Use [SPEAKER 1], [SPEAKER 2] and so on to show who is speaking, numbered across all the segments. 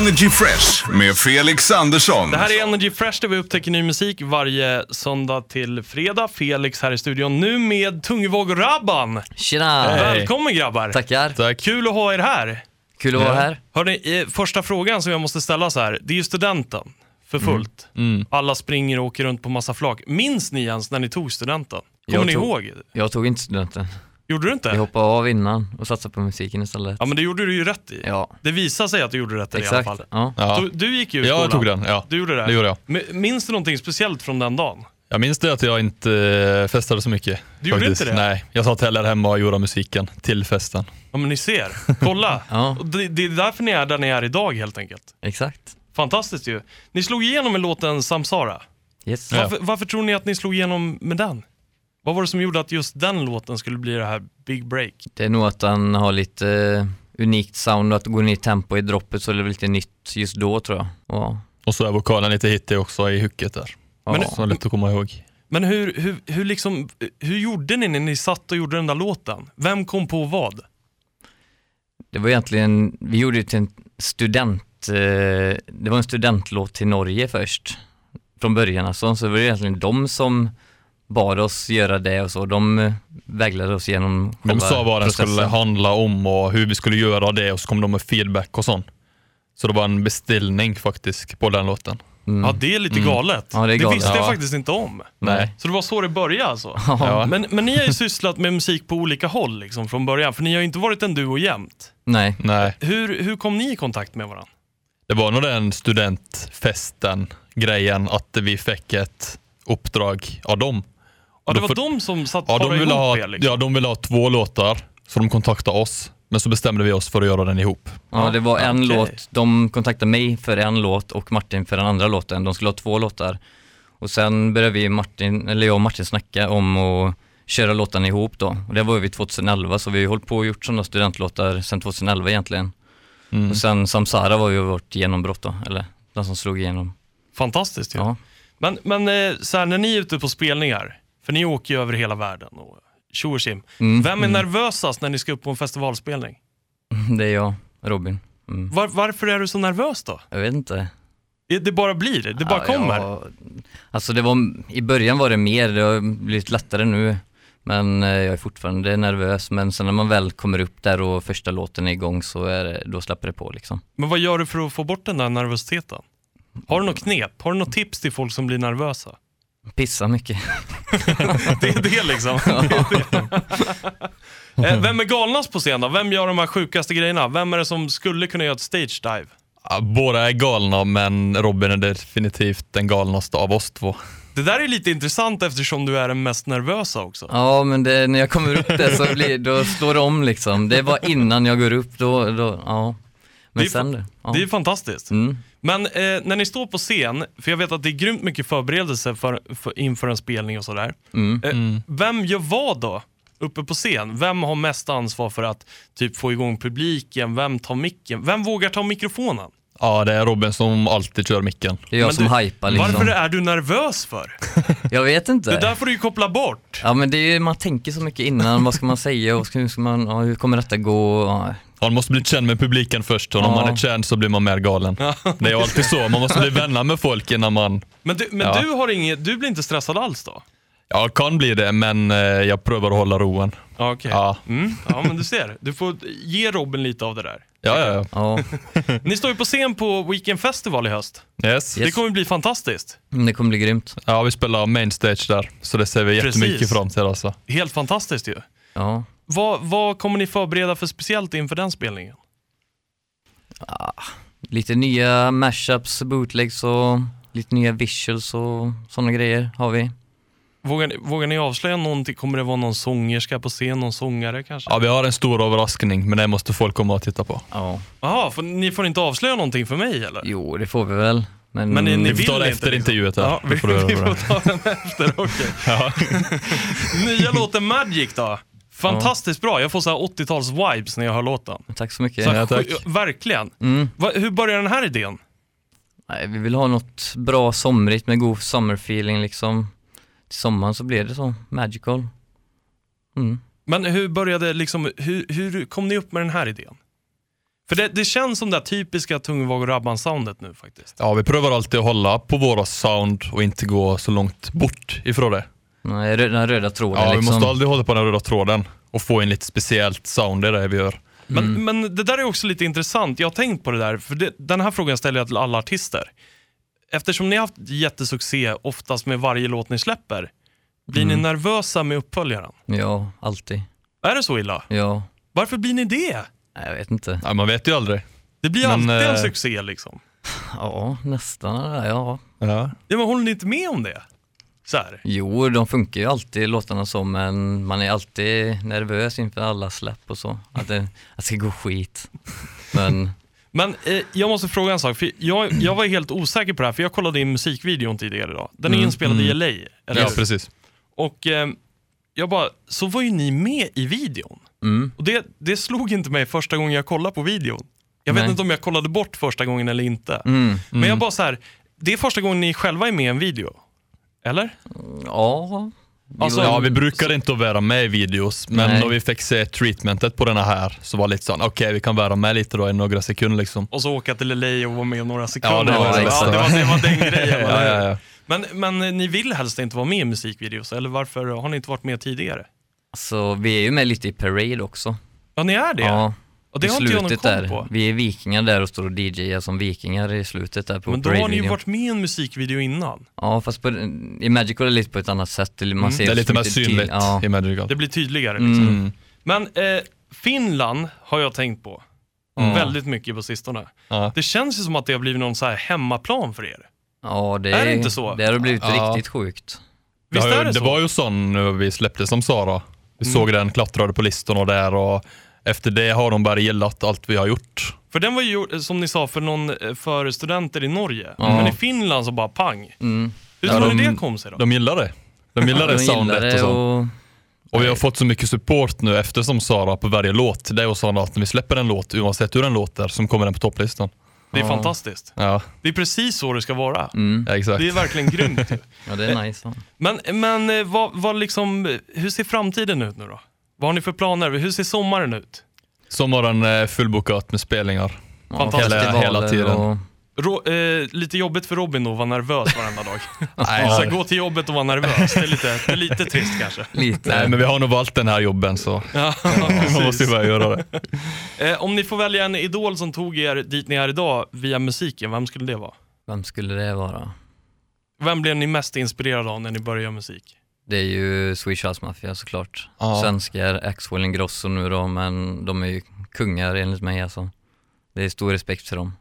[SPEAKER 1] Energy Fresh med Felix Andersson.
[SPEAKER 2] Det här
[SPEAKER 3] Alltså-
[SPEAKER 2] är Energy Fresh där vi upptäcker ny musik varje söndag till fredag. Felix här i studion nu med Tungvåg-Rabban.
[SPEAKER 4] Tjena!
[SPEAKER 2] Välkommen grabbar!
[SPEAKER 4] Tackar!
[SPEAKER 2] Kul att ha er här.
[SPEAKER 4] Kul att vara här.
[SPEAKER 2] Hörrni, eh, första frågan som jag måste ställa så här. Det är ju studenten för
[SPEAKER 3] Mm.
[SPEAKER 2] fullt. Alla springer och åker runt på massa flak. Minns ni ens när ni tog studenten? Kommer
[SPEAKER 4] Jag
[SPEAKER 2] ni
[SPEAKER 4] tog-
[SPEAKER 2] ihåg?
[SPEAKER 4] Jag tog inte studenten.
[SPEAKER 2] Gjorde du inte?
[SPEAKER 4] Jag hoppade av innan och satsade på musiken istället.
[SPEAKER 2] Ja men det gjorde du ju rätt i.
[SPEAKER 4] Ja,
[SPEAKER 2] Det visade sig att du gjorde rätt i i alla
[SPEAKER 4] exakt.
[SPEAKER 2] fall.
[SPEAKER 4] Ja.
[SPEAKER 3] Ja.
[SPEAKER 2] Du, du gick ju i skolan.
[SPEAKER 3] Jag tog den, ja.
[SPEAKER 2] Du gjorde det?
[SPEAKER 3] Det gjorde jag.
[SPEAKER 2] Men Minns du någonting speciellt från den dagen?
[SPEAKER 3] Jag minns det att jag inte eh, festade så mycket.
[SPEAKER 2] Du gjorde inte det?
[SPEAKER 3] Nej, jag satt hellre hemma och gjorde musiken till festen.
[SPEAKER 2] Ja men ni ser, kolla.
[SPEAKER 4] Ja.
[SPEAKER 2] Och det, det är därför ni är där ni är idag helt enkelt.
[SPEAKER 4] Exakt.
[SPEAKER 2] Fantastiskt ju. Ni slog igenom med låten Samsara.
[SPEAKER 4] Yes.
[SPEAKER 3] Ja.
[SPEAKER 2] Varför, varför tror ni att ni slog igenom med den? Vad var det som gjorde att just den låten skulle bli det här big break?
[SPEAKER 4] Det är nog att han har lite eh, unikt sound och att gå ner i tempo i droppet så det blir lite nytt just då tror jag. Ja.
[SPEAKER 3] Och så är vokalen lite hittig också i hooket där.
[SPEAKER 4] Ja.
[SPEAKER 2] Men-
[SPEAKER 3] Så lätt att komma ihåg.
[SPEAKER 2] Men hur, hur, hur, liksom, hur gjorde ni när ni satt och gjorde den där låten? Vem kom på vad?
[SPEAKER 4] Det var egentligen, vi gjorde det till en student, eh, det var en studentlåt till Norge först. Från början alltså, så det var egentligen de som bad oss göra det och så. De eh, vägledde oss genom
[SPEAKER 3] De
[SPEAKER 4] själva
[SPEAKER 3] sa vad den
[SPEAKER 4] processen.
[SPEAKER 3] skulle handla om och hur vi skulle göra det och så kom de med feedback och sånt. Så det var en beställning faktiskt på den låten.
[SPEAKER 2] Ja, det är lite galet.
[SPEAKER 4] Mm. Ja, det är galet.
[SPEAKER 2] visste jag
[SPEAKER 3] Ja.
[SPEAKER 2] faktiskt inte om.
[SPEAKER 3] Nej.
[SPEAKER 2] Så det var så det började alltså?
[SPEAKER 3] Ja.
[SPEAKER 2] Men, men ni har ju sysslat med musik på olika håll liksom, från början, för ni har ju inte varit en duo jämt.
[SPEAKER 4] Nej.
[SPEAKER 3] Nej,
[SPEAKER 2] Hur, hur kom ni i kontakt med varandra?
[SPEAKER 3] det var nog den studentfesten grejen att vi fick ett uppdrag av dem.
[SPEAKER 2] Ja, det
[SPEAKER 3] Då
[SPEAKER 2] var
[SPEAKER 3] för-
[SPEAKER 2] de som satt
[SPEAKER 3] Ja, de
[SPEAKER 2] parade
[SPEAKER 3] ville,
[SPEAKER 2] ihop
[SPEAKER 3] ha,
[SPEAKER 2] er liksom.
[SPEAKER 3] ja, de ville ha två låtar, så de kontaktade oss. Men så bestämde vi oss för att göra den ihop.
[SPEAKER 4] Ja, det var en
[SPEAKER 2] okej.
[SPEAKER 4] låt. De kontaktade mig för en låt och Martin för den andra låten. De skulle ha två låtar. Och sen började vi Martin, eller jag och Martin snacka om att köra låtarna ihop då. Och det var vi 2011, så vi har ju hållit på och gjort sådana studentlåtar sedan 2011 egentligen. Och sen Samsara var ju vårt genombrott då, eller den som slog igenom.
[SPEAKER 2] Fantastiskt ju.
[SPEAKER 4] Ja.
[SPEAKER 2] Men, men eh, så här, när ni är ute på spelningar, för ni åker ju över hela världen och tjo och tjim.
[SPEAKER 3] Mm.
[SPEAKER 2] Vem är nervösast när ni ska upp på en festivalspelning?
[SPEAKER 4] Det är jag, Robin. Mm.
[SPEAKER 2] Var, varför är du så nervös då?
[SPEAKER 4] Jag vet inte.
[SPEAKER 2] Det- Det bara blir, det bara
[SPEAKER 4] Ja,
[SPEAKER 2] kommer.
[SPEAKER 4] ja. alltså det var, i början var det mer, det har blivit lättare nu. Men eh, jag är fortfarande nervös, men sen när man väl kommer upp där och första låten är igång så är det, då släpper det på liksom.
[SPEAKER 2] Men vad gör du för att få bort den där nervositeten? Har du något knep? Har du något tips till folk som blir nervösa?
[SPEAKER 4] Pissa mycket.
[SPEAKER 2] Det är det liksom. Det är det. Eh, Vem är galnast på scen då? Vem gör de här sjukaste grejerna? Vem är det som skulle kunna göra ett stage dive?
[SPEAKER 3] Ja, Båda är galna, men Robin är definitivt den galnaste av oss två.
[SPEAKER 2] Det där är lite intressant eftersom du är den mest nervösa också.
[SPEAKER 4] Ja, men det, när jag kommer upp där så blir, då slår det om liksom. Det var innan jag går upp, då, då ja. Men
[SPEAKER 2] Det är
[SPEAKER 4] sen
[SPEAKER 2] fa-
[SPEAKER 4] det, ja.
[SPEAKER 2] Det är ju fantastiskt.
[SPEAKER 4] Mm.
[SPEAKER 2] Men eh, när ni står på scen, för jag vet att det är grymt mycket förberedelse för, för, inför en spelning och sådär.
[SPEAKER 4] Mm.
[SPEAKER 2] Eh, Vem gör vad då? Uppe på scen, vem har mest ansvar för att typ få igång publiken? Vem tar micken? Vem vågar ta mikrofonen?
[SPEAKER 3] Ja, det är Robin som alltid kör micken.
[SPEAKER 4] Det är jag
[SPEAKER 2] Men
[SPEAKER 4] som
[SPEAKER 2] du-
[SPEAKER 4] hypar liksom.
[SPEAKER 2] Varför är du nervös för?
[SPEAKER 4] Jag vet inte.
[SPEAKER 2] Det där får du ju koppla bort.
[SPEAKER 4] Ja men det är ju, man tänker så mycket innan, vad ska man säga, och ska, hur, ska man, ja, hur kommer detta gå? Ja.
[SPEAKER 3] Han måste bli känd med publiken först, och när
[SPEAKER 4] Ja.
[SPEAKER 3] man är känd så blir man mer galen. Det är ju alltid så, man måste bli vänner med folk innan man...
[SPEAKER 2] Men du, men
[SPEAKER 3] Ja.
[SPEAKER 2] du, har inget, du blir inte stressad alls då?
[SPEAKER 3] Ja, kan bli det, men eh, jag prövar att hålla roen.
[SPEAKER 2] Ja, okej.
[SPEAKER 3] Ja.
[SPEAKER 2] Mm. ja, men du ser. Du får ge Robin lite av det där.
[SPEAKER 3] Ja, ja,
[SPEAKER 4] Ja,
[SPEAKER 2] Ni står ju på scen på Weekend Festival i höst.
[SPEAKER 3] ja. Yes.
[SPEAKER 2] Det kommer bli fantastiskt.
[SPEAKER 4] men det kommer bli grymt.
[SPEAKER 3] Ja, vi spelar main stage där, så det ser vi
[SPEAKER 2] Precis.
[SPEAKER 3] jättemycket fram till alltså.
[SPEAKER 2] Helt fantastiskt ju.
[SPEAKER 4] Ja.
[SPEAKER 2] Vad, vad kommer ni förbereda för speciellt inför den spelningen?
[SPEAKER 4] Lite nya mashups, bootlegs och lite nya visuals och sådana grejer har vi.
[SPEAKER 2] Vågar ni, vågar ni avslöja någonting? Kommer det vara någon sångerska på scen? Någon sångare kanske?
[SPEAKER 3] Ja, vi har en stor överraskning, men det måste folk komma och titta på.
[SPEAKER 4] Ja.
[SPEAKER 2] Jaha, för ni får inte avslöja någonting för mig eller?
[SPEAKER 4] Jo, det får vi väl. Men,
[SPEAKER 2] Men ni- ni
[SPEAKER 3] Vi får ta
[SPEAKER 2] Vill
[SPEAKER 3] det
[SPEAKER 2] inte,
[SPEAKER 3] efter
[SPEAKER 2] liksom.
[SPEAKER 3] intervjuet. här.
[SPEAKER 2] Ja,
[SPEAKER 3] Då
[SPEAKER 2] vi,
[SPEAKER 3] får du
[SPEAKER 2] vi
[SPEAKER 3] göra det.
[SPEAKER 2] får ta den efter, okej. Nya låten Magic då? Fantastiskt bra, jag får så här 80-tals-vibes när jag hör låten.
[SPEAKER 4] Tack så mycket.
[SPEAKER 2] Så här,
[SPEAKER 3] Ja, tack. Mm.
[SPEAKER 2] sju- verkligen. Va, hur börjar den här idén?
[SPEAKER 4] Nej, vi vill ha något bra somrigt med god summerfeeling liksom. Till sommaren så blir det så, magical. Mm.
[SPEAKER 2] Men hur började liksom, hur, hur kom ni upp med den här idén? För det, det känns som det här typiska tungvåg och Rabban-soundet nu faktiskt.
[SPEAKER 3] Ja, vi prövar alltid att hålla på våra sound och inte gå så långt bort ifrån det.
[SPEAKER 4] Nej, rö- den röda tråden
[SPEAKER 3] Ja, vi
[SPEAKER 4] liksom.
[SPEAKER 3] måste aldrig hålla på den röda tråden och få in lite speciellt sound i det vi gör.
[SPEAKER 2] Men,
[SPEAKER 3] Mm.
[SPEAKER 2] men det där är också lite intressant, jag har tänkt på det där, för det, den här frågan ställer jag till alla artister. Eftersom ni har haft jättesuccé, oftast med varje låt ni släpper, blir
[SPEAKER 3] Mm.
[SPEAKER 2] ni nervösa med uppföljaren?
[SPEAKER 4] Ja, alltid.
[SPEAKER 2] Är det så illa?
[SPEAKER 4] Ja,
[SPEAKER 2] Varför blir ni det?
[SPEAKER 4] Nej, jag vet inte.
[SPEAKER 3] Ja, man vet ju aldrig.
[SPEAKER 2] Det blir
[SPEAKER 3] Men,
[SPEAKER 2] alltid en
[SPEAKER 3] eh,
[SPEAKER 2] succé liksom.
[SPEAKER 4] Ja, nästan. Ja.
[SPEAKER 3] Ja.
[SPEAKER 2] Ja, men håller ni inte med om det? Så här.
[SPEAKER 4] Jo, de funkar ju alltid låtarna så, men man är alltid nervös inför alla släpp och så. Att det, att det ska gå skit. Men
[SPEAKER 2] Men eh, jag måste fråga en sak, för jag, jag var helt osäker på det här, för jag kollade in musikvideon tidigare idag. Den
[SPEAKER 3] Mm,
[SPEAKER 2] är inspelad i LA, eller
[SPEAKER 3] Ja,
[SPEAKER 2] hur?
[SPEAKER 3] precis.
[SPEAKER 2] Och eh, jag bara, så var ju ni med i videon.
[SPEAKER 3] Mm.
[SPEAKER 2] Och det, det slog inte mig första gången jag kollade på videon. Jag vet
[SPEAKER 4] Nej.
[SPEAKER 2] inte om jag kollade bort första gången eller inte.
[SPEAKER 3] Mm,
[SPEAKER 2] Men jag bara så här, det är första gången ni själva är med i en video. Eller?
[SPEAKER 4] ja,
[SPEAKER 2] Alltså,
[SPEAKER 3] ja, vi brukar inte att vara med i videos, men
[SPEAKER 4] Nej.
[SPEAKER 3] när vi fick se treatmentet på den här så var det lite sån, okej vi kan vara med lite då i några sekunder liksom.
[SPEAKER 2] Och så åka till LA och vara med några sekunder.
[SPEAKER 3] Ja, det var
[SPEAKER 2] ja,
[SPEAKER 3] det
[SPEAKER 2] det,
[SPEAKER 3] bästa.
[SPEAKER 2] var, det var den grejen.
[SPEAKER 3] Ja, ja, ja.
[SPEAKER 2] Men, men eh, ni vill helst inte vara med i musikvideos, eller varför har ni inte varit med tidigare?
[SPEAKER 4] så vi är ju med lite i Parade också.
[SPEAKER 2] Ja, ni är det?
[SPEAKER 4] Ja,
[SPEAKER 2] och det
[SPEAKER 4] i
[SPEAKER 2] har inte jag någon
[SPEAKER 4] slutet
[SPEAKER 2] koll
[SPEAKER 4] där.
[SPEAKER 3] Mm.
[SPEAKER 2] på.
[SPEAKER 4] Vi är vikingar där och står och DJar som vikingar i slutet där på
[SPEAKER 2] Men då har ni ju
[SPEAKER 4] Parade-videon.
[SPEAKER 2] varit med i en musikvideo innan.
[SPEAKER 4] Ja, fast på, i Magical är det lite på ett annat sätt. Man
[SPEAKER 2] Mm.
[SPEAKER 4] ser
[SPEAKER 3] Det är lite
[SPEAKER 4] så
[SPEAKER 3] mer
[SPEAKER 4] mycket till-
[SPEAKER 3] synligt
[SPEAKER 4] Ja.
[SPEAKER 3] i Madrigal.
[SPEAKER 2] Det blir tydligare. Liksom.
[SPEAKER 3] Mm.
[SPEAKER 2] Men eh, Finland har jag tänkt på väldigt mycket på sistone.
[SPEAKER 3] Ja.
[SPEAKER 2] Det känns ju som att det har blivit någon så här hemmaplan för er.
[SPEAKER 4] ja, det
[SPEAKER 2] Är det inte så?
[SPEAKER 4] Det har blivit
[SPEAKER 3] Ja.
[SPEAKER 4] riktigt sjukt.
[SPEAKER 3] Det,
[SPEAKER 2] Visst
[SPEAKER 3] har ju-
[SPEAKER 2] är det,
[SPEAKER 3] det
[SPEAKER 2] så? Mm.
[SPEAKER 3] var ju sån eh, vi släppte som Sara. Vi såg den klättrade på listorna där och efter det har de bara gillat allt vi har gjort.
[SPEAKER 2] För den var ju gjord, eh, som ni sa, för, någon, eh, för studenter i Norge. Men i Finland så bara pang. Hur
[SPEAKER 3] Mm. Ja,
[SPEAKER 2] tror ni
[SPEAKER 3] de-
[SPEAKER 2] det kom sig då?
[SPEAKER 3] De gillar det. De gillar det
[SPEAKER 4] De gillar
[SPEAKER 3] soundet
[SPEAKER 4] det
[SPEAKER 3] och sånt.
[SPEAKER 4] och
[SPEAKER 3] Och vi har fått så mycket support nu eftersom Sara på varje låt. Det är ju sån att när vi släpper en låt, oavsett hur den låter, så kommer den på topplistan.
[SPEAKER 2] det är fantastiskt.
[SPEAKER 3] Ja, Mm.
[SPEAKER 2] Det är precis så det ska vara.
[SPEAKER 3] ja exakt.
[SPEAKER 2] Det är verkligen grymt. ju.
[SPEAKER 4] Ja, det är nice. ja.
[SPEAKER 2] Men, men eh, vad, vad liksom, eh, hur ser framtiden ut nu då? Vad har ni för planer? Hur ser sommaren ut?
[SPEAKER 3] Sommaren är eh, fullbokat med spelningar.
[SPEAKER 4] Ja,
[SPEAKER 2] Fantastiskt.
[SPEAKER 4] festivaler
[SPEAKER 3] Hela tiden.
[SPEAKER 4] och-
[SPEAKER 2] Ro, eh, lite jobbigt för Robin då att vara nervös varenda dag. Så här, gå till jobbet och vara nervös. Det är lite, det är lite trist kanske.
[SPEAKER 4] Lite.
[SPEAKER 3] Nej, men vi har nog valt den här jobben så
[SPEAKER 2] Ja,
[SPEAKER 3] man måste ju
[SPEAKER 2] precis.
[SPEAKER 3] bara göra det.
[SPEAKER 2] Eh, om ni får välja en idol som tog er dit ni är idag via musiken, vem skulle det vara?
[SPEAKER 4] Vem skulle det vara?
[SPEAKER 2] Vem blev ni mest inspirerade av när ni började göra musik?
[SPEAKER 4] Det är ju Swedish House Mafia såklart.
[SPEAKER 3] Ja.
[SPEAKER 4] Svenskar, Axwell Ingrosso nu då, men de är ju kungar enligt mig alltså. Det är stor respekt för dem.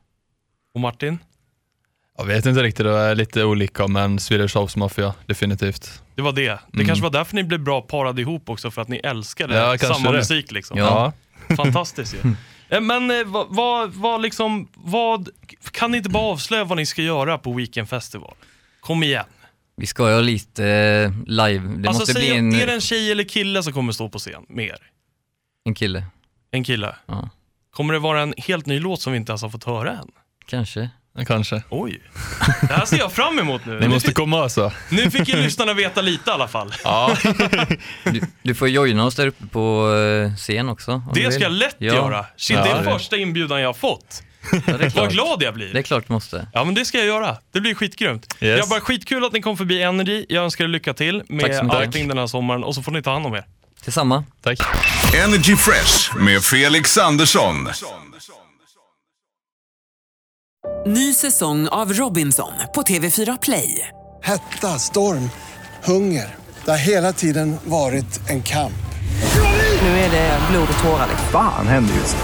[SPEAKER 2] Och Martin?
[SPEAKER 3] Jag vet inte riktigt, det är lite olika men Swedish House Mafia, definitivt.
[SPEAKER 2] Det var det. Det kanske var därför ni blev bra parade ihop också, för att ni älskade
[SPEAKER 3] Mm. Ja, kanske
[SPEAKER 2] samma
[SPEAKER 3] det.
[SPEAKER 2] musik liksom.
[SPEAKER 4] Ja.
[SPEAKER 2] Fantastiskt ju. Eh, Men eh, vad, vad, vad liksom, vad, kan ni inte bara avslöja vad ni ska göra på Weekend Festival? Kom igen.
[SPEAKER 4] Vi ska ju ha lite eh, live, det
[SPEAKER 2] alltså,
[SPEAKER 4] måste
[SPEAKER 2] säg,
[SPEAKER 4] bli en,
[SPEAKER 2] Är det en tjej eller kille som kommer stå på scen med er?
[SPEAKER 4] en kille.
[SPEAKER 2] En kille.
[SPEAKER 4] Ja.
[SPEAKER 2] Kommer det vara en helt ny låt som vi inte ens har fått höra än?
[SPEAKER 4] Kanske.
[SPEAKER 3] Kanske.
[SPEAKER 2] Oj. Det här ser jag fram emot nu.
[SPEAKER 3] Ni
[SPEAKER 2] Nu
[SPEAKER 3] måste
[SPEAKER 2] fick,
[SPEAKER 3] komma alltså.
[SPEAKER 2] nu fick ju lyssnarna veta lite i alla fall.
[SPEAKER 4] Du, du får joina oss där uppe på eh, scen också. om du
[SPEAKER 2] Det
[SPEAKER 4] vill.
[SPEAKER 2] ska jag lätt
[SPEAKER 4] Ja.
[SPEAKER 2] göra. Shit, det
[SPEAKER 3] Ja,
[SPEAKER 2] är
[SPEAKER 3] det-
[SPEAKER 2] första inbjudan jag har fått.
[SPEAKER 4] Ja, det är klart.
[SPEAKER 2] Vad glad jag
[SPEAKER 4] Det är
[SPEAKER 2] blir.
[SPEAKER 4] klart du måste.
[SPEAKER 2] Ja men det ska jag göra. Det blir skitgrymt.
[SPEAKER 3] Yes.
[SPEAKER 2] Jag bara skitkul att ni kom förbi Energy. Jag önskar er lycka till
[SPEAKER 4] Tack
[SPEAKER 2] med
[SPEAKER 4] så mycket.
[SPEAKER 2] allting den här sommaren och så får ni ta hand om er.
[SPEAKER 4] Tillsammans.
[SPEAKER 3] Tack.
[SPEAKER 1] Energy Fresh med Felix Andersson.
[SPEAKER 5] Ny säsong av Robinson på TV4 Play.
[SPEAKER 6] Hetta, storm, hunger. Det har hela tiden varit en kamp.
[SPEAKER 5] Nu är det blod och tårar.
[SPEAKER 7] Fan händer just det.